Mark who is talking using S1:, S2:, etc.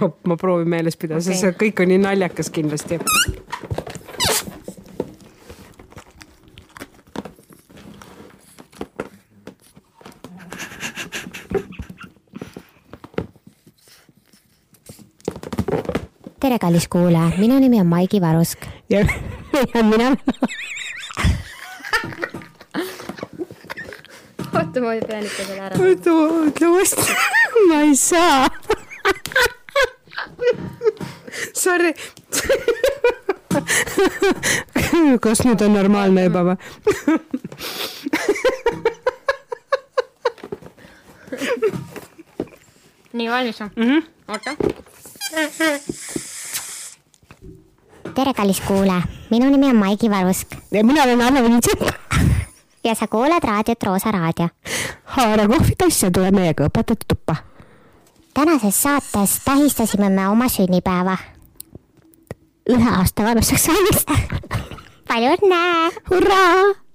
S1: ma, ma proovin meeles pidada okay., sest see kõik on nii naljakas kindlasti.
S2: tere , kallis kuulaja , minu nimi on Maigi Varusk .
S1: ja, ja mina ,
S3: oota , ma pean ikka selle ära .
S1: oota , ütle uuesti , ma ei saa . Sorry . kas nüüd on normaalne juba või ?
S3: nii , valmis või ? oota .
S2: tere , kallis kuulaja , minu nimi on Maigi Varusk
S1: ja mina olen Anne-Mari Tšekk .
S2: ja sa kuulad raadiot Roosa Raadio .
S1: haara kohvitass ja tule meiega õpetajate tuppa .
S2: tänases saates tähistasime me oma sünnipäeva . ühe aasta vanuseks saamist . palju õnne ,
S1: hurraa ,